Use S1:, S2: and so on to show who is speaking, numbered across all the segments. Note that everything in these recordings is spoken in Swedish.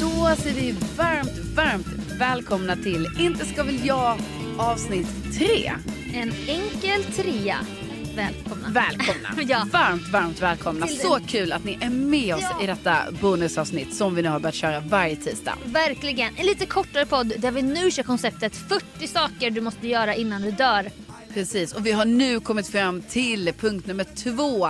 S1: Då säger vi varmt, varmt välkomna till Inte ska väl jag avsnitt tre.
S2: En enkel trea. Välkomna.
S1: Välkomna.
S2: ja.
S1: Varmt, varmt välkomna.
S2: Till-
S1: Så kul att ni är med oss
S2: Ja.
S1: i detta bonusavsnitt som vi nu har börjat köra varje tisdag.
S2: Verkligen. En lite kortare podd där vi nu kör konceptet 40 saker du måste göra innan du dör.
S1: Precis, och vi har nu kommit fram till punkt nummer två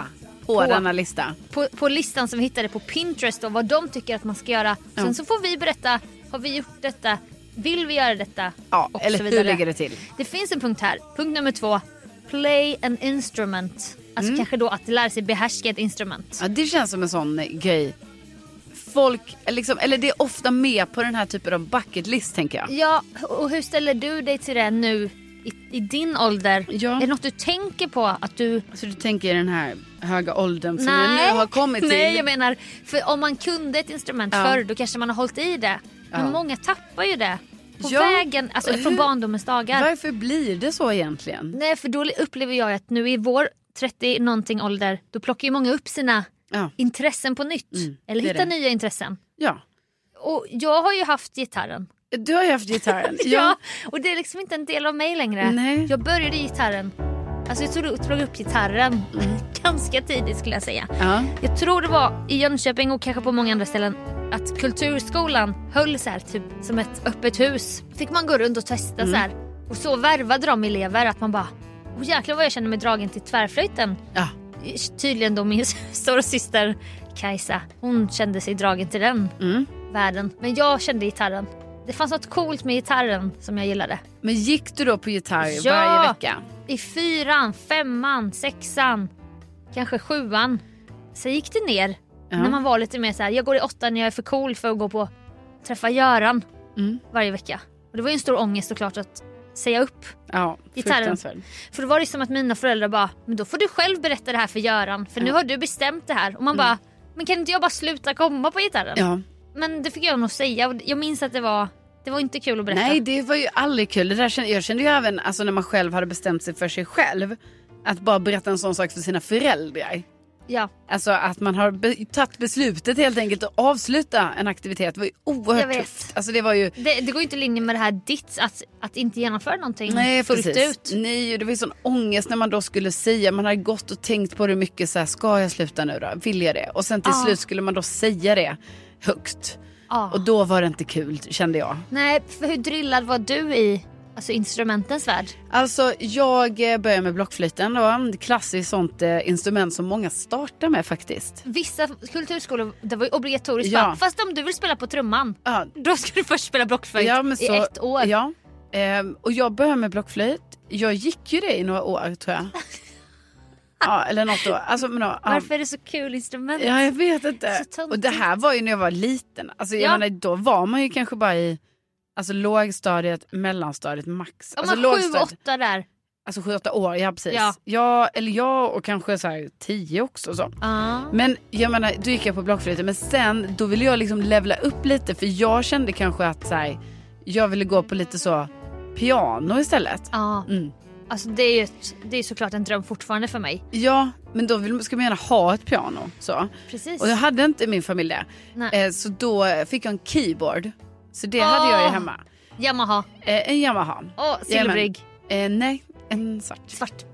S1: på
S2: På.
S1: denna lista.
S2: På, på listan som vi hittade på Pinterest och vad de tycker att man ska göra. Sen
S1: Ja.
S2: så får vi berätta, har vi gjort detta? Vill vi göra detta?
S1: Ja,
S2: Och
S1: eller
S2: så
S1: hur
S2: vidare.
S1: ligger det till?
S2: Det finns en punkt här. Punkt nummer två. Play an instrument. Alltså
S1: Mm.
S2: kanske då att lära sig behärska ett instrument.
S1: Ja, det känns som en sån grej. Folk, liksom, eller det är ofta med på den här typen av bucket list tänker jag.
S2: Ja, och hur ställer du dig till det nu i, i din ålder?
S1: Ja.
S2: Är det något du tänker på att du
S1: Så du tänker den här höga åldern som jag
S2: Nej.
S1: nu har kommit till.
S2: Nej, jag menar, för om man kunde ett instrument
S1: Ja.
S2: förr då kanske man har hållit i det. Men
S1: Ja.
S2: många tappar ju det på
S1: Ja.
S2: vägen, alltså
S1: Och
S2: från
S1: hur-
S2: barndomens dagar.
S1: Varför blir det så egentligen?
S2: Nej, för då upplever jag att nu i vår 30 någonting ålder då plockar ju många upp sina
S1: Ja.
S2: intressen på nytt.
S1: Mm,
S2: eller
S1: det är
S2: hittar
S1: det.
S2: nya intressen.
S1: ja.
S2: Och jag har ju haft gitarren.
S1: Du har ju haft gitarren.
S2: Ja. Och det är liksom inte en del av mig längre.
S1: Nej.
S2: Jag började i gitarren. Alltså jag tog, tog upp gitarren ganska tidigt skulle jag säga.
S1: ja.
S2: Jag tror det var i Jönköping och kanske på många andra ställen att kulturskolan höll så här, typ som ett öppet hus. Fick man gå runt och testa så här. Och så värvade de elever att man bara Åh jäklar vad jag känner mig dragen till tvärflöjten.
S1: Ja.
S2: Tydligen då min stora syster Kajsa, hon kände sig dragen till den
S1: Mm.
S2: världen. Men jag kände gitarren. Det fanns något coolt med gitarren som jag gillade.
S1: Men gick du då på gitarr
S2: Ja.
S1: varje vecka?
S2: I fyran, femman, sexan, kanske sjuan. Sen gick det ner
S1: Ja.
S2: När man var lite mer så här, jag går i åttan när jag är för cool för att gå på träffa Göran
S1: Mm.
S2: varje vecka. Och det var ju en stor ångest såklart att säga upp.
S1: ja,
S2: Gitarren.
S1: fruktansvärd.
S2: För då var det som att mina föräldrar bara, men då får du själv berätta det här för Göran för nu har du bestämt det här. Och man bara, men kan inte jag bara sluta komma på gitarren?
S1: Mm. Ja.
S2: Men det fick jag nog säga och jag minns att det var, det var inte kul att berätta.
S1: Nej, det var ju aldrig kul. Det där kände, jag kände ju även alltså, när man själv hade bestämt sig för sig själv. Att bara berätta en sån sak för sina föräldrar.
S2: Ja,
S1: Alltså att man har be- tagit beslutet helt enkelt att avsluta en aktivitet. Det var ju
S2: Jag
S1: oerhört
S2: vet.
S1: tufft. Alltså det var ju...
S2: det, det går ju inte i linje med det här ditt att, att inte genomföra någonting
S1: Nej,
S2: fullt
S1: Mm, precis. Mm.
S2: ut.
S1: Nej, och det var ju sån ångest när man då skulle säga, man hade gått och tänkt på det mycket så här, ska jag sluta nu då? Vill jag det? Och sen till
S2: Ja.
S1: slut skulle man då säga det högt.
S2: Ja.
S1: Och då var det inte kul kände jag.
S2: Nej, för hur drillad var du i alltså, instrumentens värld?
S1: Alltså jag eh, började med blockflöjten då, klassiskt sånt eh, instrument som många startar med faktiskt.
S2: Vissa kulturskolor, det var ju obligatoriskt
S1: Ja.
S2: bara, fast om du vill spela på trumman
S1: Ja,
S2: då ska du först spela blockflöjt i
S1: så-
S2: ett år.
S1: Ja, Ehm, och jag började med blockflöjt. Jag gick ju det i några år tror jag. ja, eller något år. Alltså, men, ja, ja.
S2: Varför är det så kul instrument?
S1: Ja, jag vet inte.
S2: Så töntigt.
S1: Och det här var ju när jag var liten. Alltså, jag
S2: Ja.
S1: menar, då var man ju kanske bara i alltså, lågstadiet, mellanstadiet, max.
S2: Om
S1: Alltså,
S2: man sju, åtta där.
S1: alltså sju, åtta år, ja precis. Ja.
S2: Ja.
S1: eller jag och kanske så här, tio också. Så.
S2: Ja.
S1: Men jag menar, då gick jag på blockflöjten. Men sen, då ville jag liksom levla upp lite. För jag kände kanske att så här, jag ville gå på lite så piano istället.
S2: Ja.
S1: Mm.
S2: Alltså det är ju ett, det är såklart en dröm fortfarande för mig.
S1: Ja, men då vill, ska man gärna ha ett piano. Så.
S2: Precis.
S1: Och jag hade inte i min familj det.
S2: Nej.
S1: Eh, så då fick jag en keyboard. Så det
S2: Ah.
S1: hade jag ju hemma.
S2: Yamaha.
S1: Eh, en Yamaha.
S2: Åh, silverrygg.
S1: Eh, nej, en svart.
S2: Svart.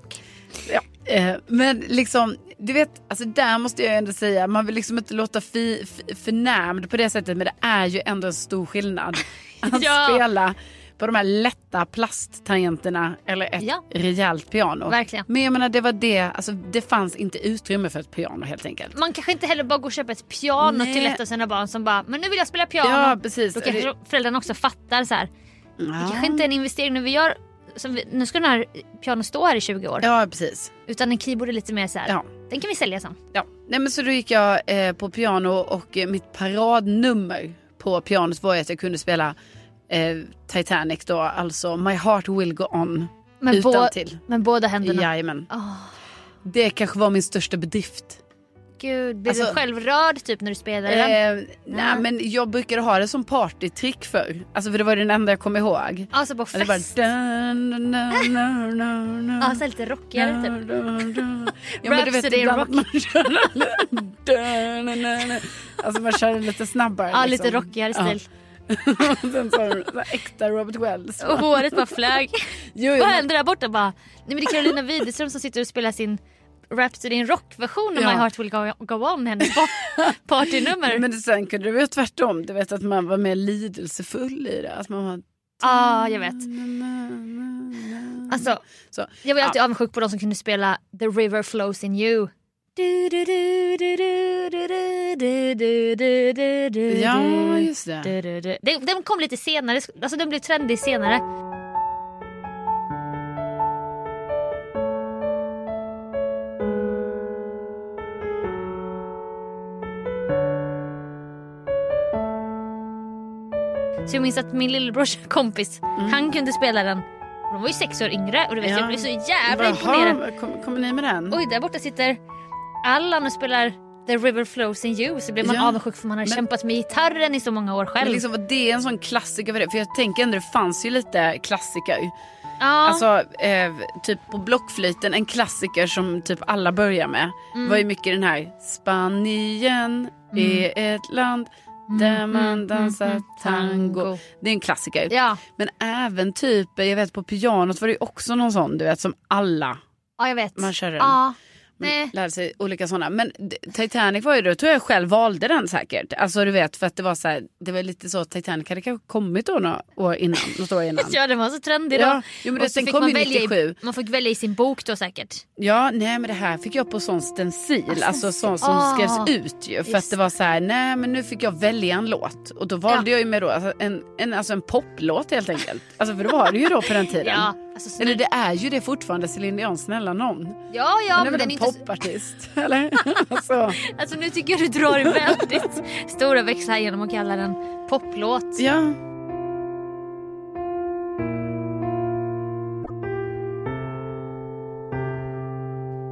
S1: Ja. Eh, men liksom, du vet, alltså där måste jag ändå säga, man vill liksom inte låta fi, f- förnämd på det sättet men det är ju ändå en stor skillnad att
S2: Ja.
S1: spela på de här lätta plasttangenterna eller ett
S2: Ja.
S1: rejält piano.
S2: Verkligen.
S1: Men jag menar det var det, alltså det fanns inte utrymme för ett piano helt enkelt.
S2: Man kanske inte heller bara går och köper ett piano
S1: Nej.
S2: till ett av sina barn som bara “men nu vill jag spela piano”.
S1: Ja, precis.
S2: Då kanske
S1: Det-
S2: föräldrarna också fattar så här. Det
S1: Ja.
S2: kanske inte är en investering när vi gör, som vi, nu ska den här pianon stå här i 20 år.
S1: Ja, precis.
S2: Utan en keyboard är lite mer så här.
S1: Ja.
S2: den kan vi sälja sen.
S1: Ja. Nej, men så då gick jag eh, på piano och eh, mitt paradnummer på pianot var ju att jag kunde spela eh, Titanic då, alltså My Heart Will Go On.
S2: Med,
S1: Utan till.
S2: med båda händerna.
S1: Jajamän.
S2: Åh,
S1: Det kanske var min största bedrift.
S2: gud, blir du
S1: Alltså-
S2: själv rörd typ när du spelar
S1: Eh,
S2: den?
S1: nej, men jag brukade ha det som partytrick förr. Alltså för det var den enda jag kom ihåg.
S2: Alltså på
S1: Det bara...
S2: fest.
S1: dun, dun, dun, dun, dun, dun.
S2: Ja, så här lite rockigare typ.
S1: Ja, men du vet,
S2: Rhapsody in
S1: ibland
S2: rock.
S1: att man kör... Alltså man kör lite snabbare.
S2: Ja,
S1: liksom.
S2: lite rockigare stil.
S1: Och Sen så har du så här äkta Robert Wells.
S2: Och håret bara flög.
S1: Jo, jo,
S2: Oh, Vad
S1: men-
S2: händer där borta bara? Nej men det är Carolina Widerström som sitter och spelar sin Rhapsody in rock-version av
S1: Ja.
S2: My Heart Will Go, go On, hennes pa- partynummer.
S1: Men sen kunde det vara tvärtom. Du vet att man var mer lidelsefull i det. Att man var...
S2: Ja, jag vet. Alltså,
S1: Så.
S2: jag var alltid avundsjuk på de som kunde spela The River Flows In You. Du, du, du, du, du, du, du, du, du, du, du, du.
S1: Ja, just det.
S2: Du, du, du. Den, den kom lite senare, alltså den blev trendig senare. Så jag minns att min lillebrors kompis, han kunde spela den. De var ju sex år yngre och du vet
S1: Mm. Ja.
S2: jag blev så jävla
S1: Jaha,
S2: imponerad.
S1: kom- Kommer ni med den?
S2: Oj, där borta sitter Allan och spelar The River Flows In You så blir man
S1: Ja.
S2: avundsjuk för man har
S1: Men-
S2: kämpat med gitarren i så många år själv.
S1: Men liksom, var det en sån klassiker för det? För jag tänker ändå det fanns ju lite klassiker.
S2: ja.
S1: Alltså eh, typ på blockflöjten, en klassiker som typ alla börjar med
S2: Mm.
S1: var ju mycket den här Spanien är ett land där man dansar
S2: mm,
S1: tango.
S2: tango.
S1: Det är en klassiker.
S2: Ja.
S1: Men även typ, jag vet på pianot var det ju också någon sån du vet som alla
S2: Ja, jag vet.
S1: Man kör den.
S2: Ja.
S1: Man
S2: Nej.
S1: lärde sig olika sådana. Men d- Titanic var ju då, tror jag själv valde den säkert. Alltså du vet för att det var så här, det var lite så Titanic hade kanske kommit då några år innan. Något år innan.
S2: Ja, den var så trendig då.
S1: Ja, jo, men
S2: Och
S1: det-
S2: så
S1: den
S2: fick
S1: kom
S2: man
S1: ju
S2: välja i,
S1: 97.
S2: Man fick välja i sin bok då säkert.
S1: Ja, nej men det här fick jag på sån stencil, alltså sån som
S2: Ah,
S1: skrevs ut ju. För att
S2: just
S1: det var så här, nej men nu fick jag välja en låt. Och då valde jag ju med då alltså en, en, alltså en poplåt helt enkelt. Alltså för det var det ju då på den tiden.
S2: Ja, alltså, snäll-
S1: Eller det är ju det fortfarande, Céline Dion, snälla någon.
S2: Ja, ja,
S1: Hon
S2: men
S1: är
S2: den
S1: väl
S2: är
S1: en
S2: inte... så-
S1: popartist, eller? alltså,
S2: Alltså nu tycker jag du drar en väldigt stora växlar här genom att kalla den poplåt.
S1: ja.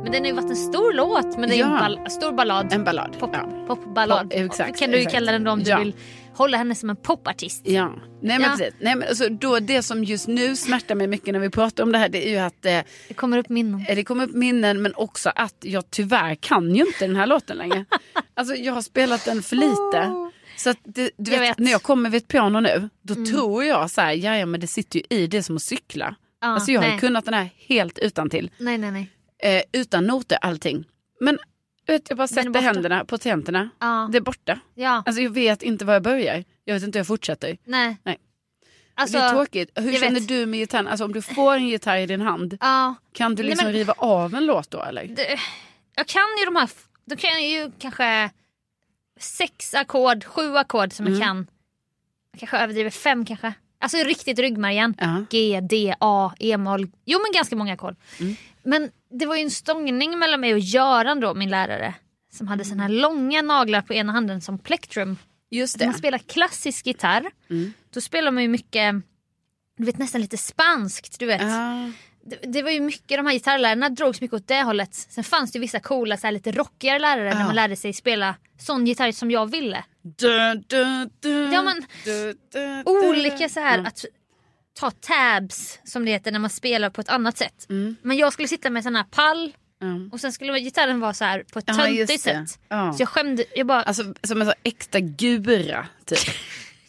S2: Men den har ju varit en stor låt, men det är ju
S1: Ja.
S2: en ball- stor ballad.
S1: En ballad,
S2: Pop,
S1: ja.
S2: Popballad.
S1: Pop, exakt,
S2: kan du ju
S1: exakt.
S2: kalla den då om du
S1: Ja.
S2: vill hålla henne som en popartist.
S1: Ja, nej men
S2: Ja.
S1: precis. Nej, men alltså, då, det som just nu smärtar mig mycket när vi pratar om det här det är ju att eh,
S2: Det kommer upp minnen.
S1: det kommer upp minnen men också att jag tyvärr kan ju inte den här låten längre. Alltså jag har spelat den för lite. Så att det, du
S2: Jag
S1: vet,
S2: vet. Mm.
S1: när jag kommer vid ett piano nu då tror jag så här, ja, ja men det sitter ju i det är som att cykla.
S2: Ja,
S1: alltså jag har
S2: nej.
S1: ju kunnat den här helt utan till
S2: Nej, nej, nej.
S1: eh, utan noter allting. Men vet, jag bara
S2: Den är
S1: sätter
S2: borta.
S1: händerna på tentorna,
S2: Ja.
S1: det är borta.
S2: Ja,
S1: Alltså jag vet inte var jag börjar, jag vet inte hur jag fortsätter.
S2: nej.
S1: Nej.
S2: Alltså,
S1: det är tråkigt. Hur
S2: jag
S1: känner
S2: vet.
S1: du med gitarren? Alltså om du får en gitarr i din hand,
S2: Ja,
S1: kan du
S2: Nej,
S1: liksom
S2: men-
S1: riva av en låt då eller?
S2: det, jag kan ju de här, då kan jag ju kanske sex ackord, sju ackord som jag kan. Jag kanske överdriver fem kanske. Alltså riktigt ryggmärgen.
S1: Ja.
S2: G, D, A, E-moll. Jo men ganska många ackord. Men det var ju en stångning mellan mig och Göran då, min lärare. Som hade såna här långa naglar på ena handen som plektrum.
S1: Just
S2: När man spelar klassisk gitarr, då spelar man ju mycket, du vet nästan lite spanskt. Du vet.
S1: Ja.
S2: det, det var ju mycket, de här gitarrlärarna drogs mycket åt det hållet. Sen fanns det ju vissa coola, så här, lite rockigare lärare när man lärde sig spela sån gitarr som jag ville.
S1: Du, du, du,
S2: Ja, men-
S1: du, du, du. Mm.
S2: Olika så här, att ta tabs som det heter när man spelar på ett annat sätt. Men jag skulle sitta med en sån här pall
S1: Mm.
S2: och sen skulle gitarren vara så här på ett
S1: Ja,
S2: töntigt
S1: just det.
S2: sätt.
S1: Ja.
S2: Så jag skämde, jag bara,
S1: Alltså som en sån extra gura typ.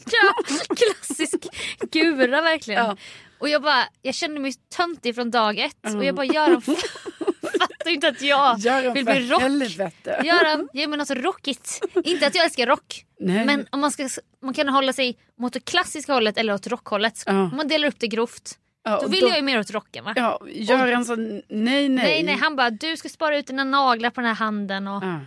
S2: ja, klassisk gura verkligen.
S1: Ja.
S2: Och jag bara, jag kände mig töntig från dag ett
S1: Mm.
S2: och jag bara Göran fattar ju inte att jag vill bli rock.
S1: helvete.
S2: Göran, ge mig något rockigt. Inte att jag älskar rock.
S1: Nej.
S2: Men om man, ska, man kan hålla sig mot det klassiska hållet eller åt rockhållet.
S1: Ja.
S2: Om man delar upp det grovt.
S1: Ja,
S2: Då
S1: och
S2: vill
S1: då-
S2: jag ju mer åt rocken va?
S1: Ja, Göran sa nej nej.
S2: Nej nej han bara du ska spara ut dina naglar på den här handen och
S1: Ja.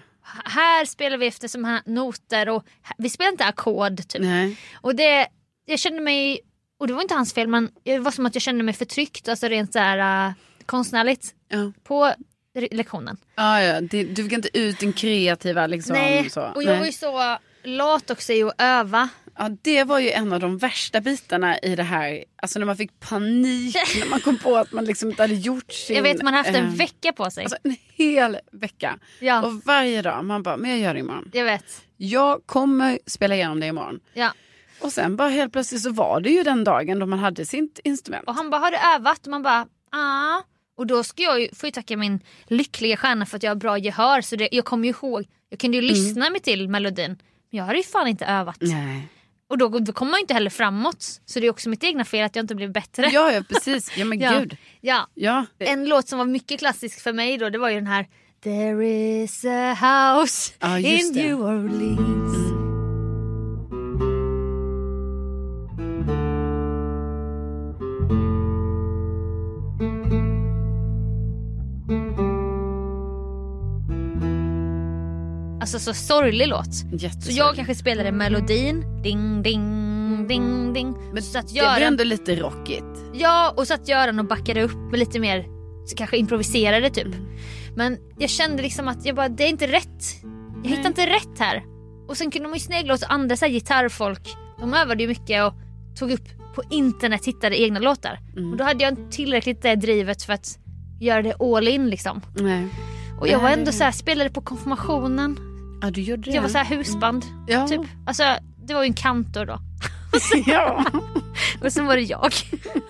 S2: här spelar vi efter som här noter och här- vi spelar inte ackord typ.
S1: Nej.
S2: Och det, jag kände mig, och det var inte hans fel men det var som att jag kände mig förtryckt alltså rent så här äh, konstnärligt
S1: Ja.
S2: på re- lektionen.
S1: Ja, ja. Det, du fick inte ut den kreativa liksom.
S2: nej
S1: Så.
S2: och jag var ju så lat också i att öva.
S1: Ja, det var ju en av de värsta bitarna i det här. Alltså när man fick panik när man kom på att man liksom inte hade gjort sin...
S2: Jag vet man har haft
S1: eh,
S2: en vecka på sig.
S1: Alltså en hel vecka.
S2: Ja.
S1: Och varje dag, man bara, men jag gör det imorgon.
S2: jag vet.
S1: Jag kommer spela igenom det imorgon.
S2: Ja.
S1: Och sen bara helt plötsligt så var det ju den dagen då man hade sitt instrument.
S2: Och han bara, har du övat? Och man bara, ah. Och då ska jag ju, får ju tacka min lyckliga stjärna för att jag har bra gehör. Så det, jag kommer ju ihåg, jag kunde ju lyssna mig till melodin. Men jag hade ju fan inte övat.
S1: Mm. Nej.
S2: Och då, då kommer man ju inte heller framåt. Så det är också mitt egna fel att jag inte blev bättre.
S1: Ja, ja, precis. Ja, men
S2: ja.
S1: gud.
S2: Ja.
S1: Ja.
S2: En låt som var mycket klassisk för mig då, det var ju den här There is a house
S1: Ja,
S2: in
S1: just det.
S2: New Orleans. Alltså så sorglig låt. Så
S1: Jättesorgligt.
S2: jag kanske spelade melodin, ding ding ding ding.
S1: Men
S2: så att
S1: det var
S2: Göran
S1: ändå lite rockigt.
S2: Ja, och satt Göran och backade upp med lite mer, så kanske improviserade typ. Men jag kände liksom att jag bara, det är inte rätt. Jag hittar inte rätt här. Och sen kunde man ju snegla åt andra så här, gitarrfolk. De övade ju mycket och tog upp på internet, hittade egna låtar.
S1: Mm.
S2: Och då hade jag inte tillräckligt det drivet för att göra det all in liksom.
S1: Nej.
S2: Och jag var
S1: Nej,
S2: ändå
S1: det-
S2: så här, spelade på konfirmationen.
S1: Ja, du gjorde det.
S2: Jag var så här husband.
S1: Ja.
S2: Typ. Alltså, det var ju en kantor då.
S1: ja.
S2: Och sen var det jag.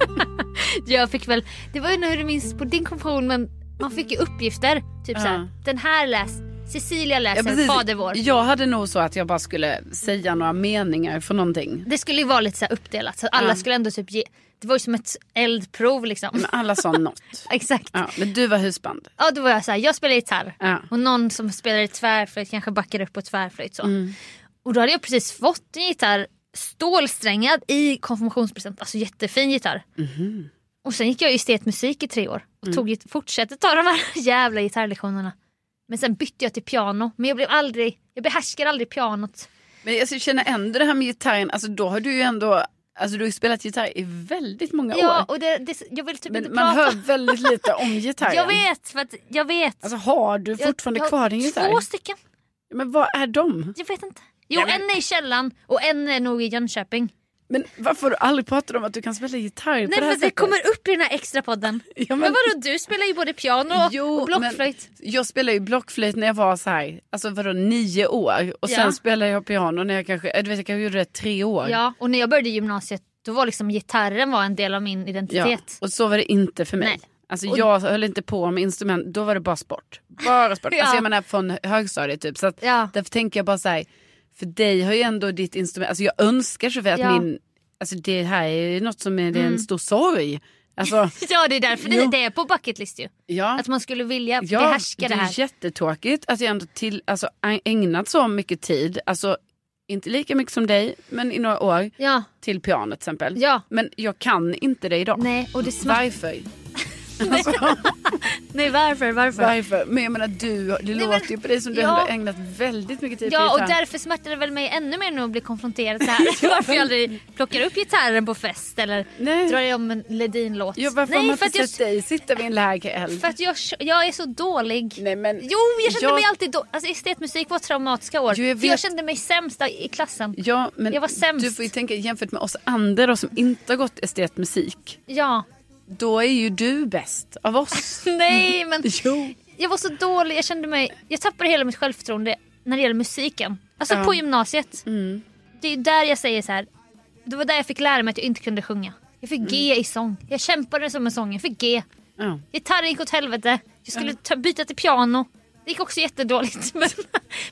S2: jag fick väl, det var ju när du minns på din konfirmation men man fick ju uppgifter. Typ
S1: Ja.
S2: såhär, den här läs, Cecilia
S1: Ja,
S2: läser
S1: precis.
S2: Fader vår.
S1: Jag hade nog så att jag bara skulle säga några meningar för någonting.
S2: Det skulle ju vara lite såhär uppdelat så att alla
S1: Ja.
S2: skulle ändå typ ge, det var ju som ett eldprov liksom.
S1: Men alla sa något.
S2: Exakt. Ja.
S1: Ja, men du var husband.
S2: då var jag såhär, jag spelar gitarr
S1: Ja.
S2: och någon som spelar i tvärflöjt kanske backar upp på tvärflöjt så.
S1: Mm.
S2: Och då hade jag precis fått en gitarr stålsträngad i konfirmationspresent, alltså jättefin gitarr.
S1: Mhm.
S2: Och sen gick jag i estetmusik i tre år och
S1: Mm.
S2: tog, fortsatte ta de här jävla gitarrlektionerna. Men sen bytte jag till piano, men jag blev aldrig, jag behärskar aldrig pianot.
S1: Men jag känner ändå det här med gitarren, alltså då har du ju ändå, alltså du har ju spelat gitarr i väldigt många
S2: Ja,
S1: år.
S2: och det, det, jag vill typ inte
S1: Men man
S2: prata.
S1: hör väldigt lite om gitarren.
S2: jag vet, för att jag vet.
S1: Alltså har du
S2: Jag-
S1: fortfarande
S2: jag har
S1: kvar din gitarr?
S2: Två stycken,
S1: Men vad är de?
S2: jag vet inte. Jo, en är i källan och en är nog i Jönköping.
S1: Men varför har du aldrig pratat om att du kan spela gitarr på
S2: Nej,
S1: det här
S2: för det
S1: sättet?
S2: kommer upp i den här extra podden.
S1: Ja,
S2: men...
S1: men-
S2: vadå, du spelar ju både piano och, och blockflöjt.
S1: Men jag spelade ju blockflöjt när jag var så här, alltså vadå nio år och
S2: Ja.
S1: sen spelade jag piano när jag kanske, äh, du vet jag kanske gjorde det tre år.
S2: Ja, och när jag började gymnasiet då var liksom gitarren var en del av min
S1: Ja,
S2: identitet.
S1: och så var det inte för mig.
S2: Nej.
S1: Alltså
S2: Och-
S1: jag höll inte på med instrument, då var det bara sport. Bara sport.
S2: Ja.
S1: Alltså jag menar från högstadiet typ. Så att
S2: Ja.
S1: därför tänker jag bara så här, för dig har ju ändå ditt instrument, alltså jag önskar så väl att
S2: Ja. Mm.
S1: min, alltså det här är ju något som är, det är en stor sorg. Alltså,
S2: Ja, det är därför det,
S1: Jo.
S2: det är på bucket list ju.
S1: ja.
S2: Att man skulle vilja
S1: Ja,
S2: behärska det
S1: är
S2: här.
S1: jättetråkigt att jag ändå till, alltså, ägnat så mycket tid, alltså inte lika mycket som dig, men i några år
S2: Ja,
S1: till piano till exempel.
S2: Ja.
S1: Men jag kan inte det idag.
S2: nej, och det smärtar
S1: Varför? Alltså,
S2: Nej, varför, varför?
S1: Varför? Men jag menar du, det låter ju på dig som du
S2: ja.
S1: har ägnat väldigt mycket tid
S2: Ja,
S1: på
S2: och
S1: gitarren.
S2: därför smärtar det väl mig ännu mer nu att bli konfronterad så här. varför jag aldrig plockar upp gitarren på fest eller
S1: Nej.
S2: drar om en Ledin-låt.
S1: Ja, varför har
S2: nej,
S1: man
S2: för
S1: inte
S2: att, jag,
S1: sett dig sitta vid en lägereld?
S2: för att jag, jag är så dålig.
S1: Mm. Nej men,
S2: Jo, jag kände
S1: jag,
S2: mig alltid dålig. Alltså estetmusik var traumatiska år.
S1: Jo, jag
S2: För jag
S1: vet.
S2: kände mig sämst i klassen.
S1: Ja, men
S2: jag var sämst.
S1: Du får ju tänka jämfört med oss andra då, som inte har gått estetmusik.
S2: Ja.
S1: Då är ju du bäst av oss.
S2: Nej men
S1: Mm. jo.
S2: jag var så dålig, jag kände mig, jag tappade hela mitt självförtroende när det gäller musiken. Alltså
S1: Ja. Mm.
S2: på gymnasiet. Det är ju där jag säger så här. det var där jag fick lära mig att jag inte kunde sjunga. Jag
S1: Mm.
S2: fick G i sång. Jag kämpade som en sång, jag fick G.
S1: Ja.
S2: Gitarren gick åt helvete. Jag skulle ta, byta till piano. Det gick också jättedåligt. Men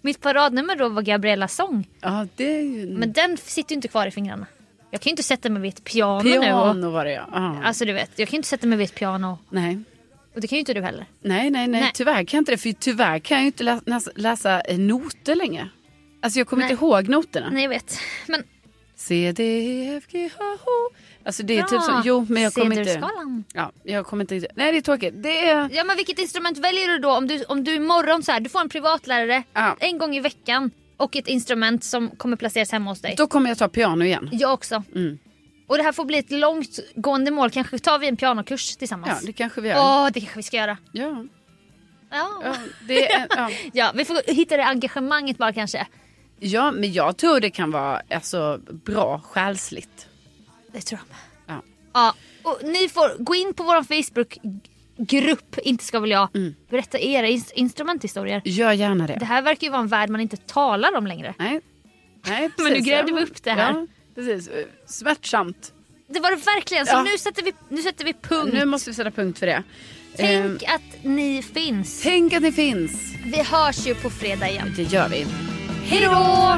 S2: mitt paradnummer då var Gabriellas sång.
S1: ja, det är ju...
S2: Men den f- sitter ju inte kvar i fingrarna. Jag kan ju inte sätta mig vid ett piano, nu. Och,
S1: Piano var det ja. ja.
S2: alltså du vet, jag kan ju inte sätta mig vid ett piano.
S1: nej.
S2: Och det kan ju inte du heller.
S1: Nej, nej, nej,
S2: Nej.
S1: Tyvärr kan jag inte det. För tyvärr kan jag ju inte lä- läsa, läsa eh, noter längre. Alltså jag kommer
S2: Nej.
S1: inte ihåg noterna.
S2: Nej jag vet. Men
S1: C, D, E, F, G, H, H. Alltså det är
S2: bra.
S1: typ så. Jo, men jag kommer inte...
S2: Cederskalan.
S1: Ja, jag kommer inte... riktigt- Nej, det är tråkigt. Det är...
S2: Ja men vilket instrument väljer du då? Om du, om du imorgon så här, du får en privatlärare
S1: Ja.
S2: en gång i veckan och ett instrument som kommer placeras hemma hos dig.
S1: Då kommer jag ta piano igen.
S2: Jag också.
S1: Mm.
S2: Och det här får bli ett långt gående mål. Kanske tar vi en pianokurs
S1: Ja,
S2: tillsammans.
S1: det kanske vi gör.
S2: Åh, det kanske vi ska göra.
S1: Ja,
S2: Ja.
S1: ja, det är, ja.
S2: ja, vi får hitta det engagemanget bara kanske.
S1: ja, men jag tror det kan vara alltså, bra själsligt.
S2: Det tror jag med.
S1: Ja.
S2: Ja, och ni får gå in på vår Facebookgrupp, inte ska väl jag,
S1: Mm.
S2: berätta era ins- instrumenthistorier.
S1: Gör gärna
S2: Det
S1: det.
S2: här verkar ju vara en värld man inte talar om längre.
S1: Nej. Nej, precis.
S2: Men nu grävde vi upp det här.
S1: Ja, precis. Smärtsamt.
S2: Det var det verkligen, så
S1: Ja.
S2: nu, sätter vi, nu sätter vi punkt.
S1: Nu måste vi sätta punkt för det.
S2: Tänk
S1: Eh,
S2: att ni finns.
S1: tänk att ni finns.
S2: Vi hörs ju på fredag igen.
S1: Det gör vi.
S2: Hej då!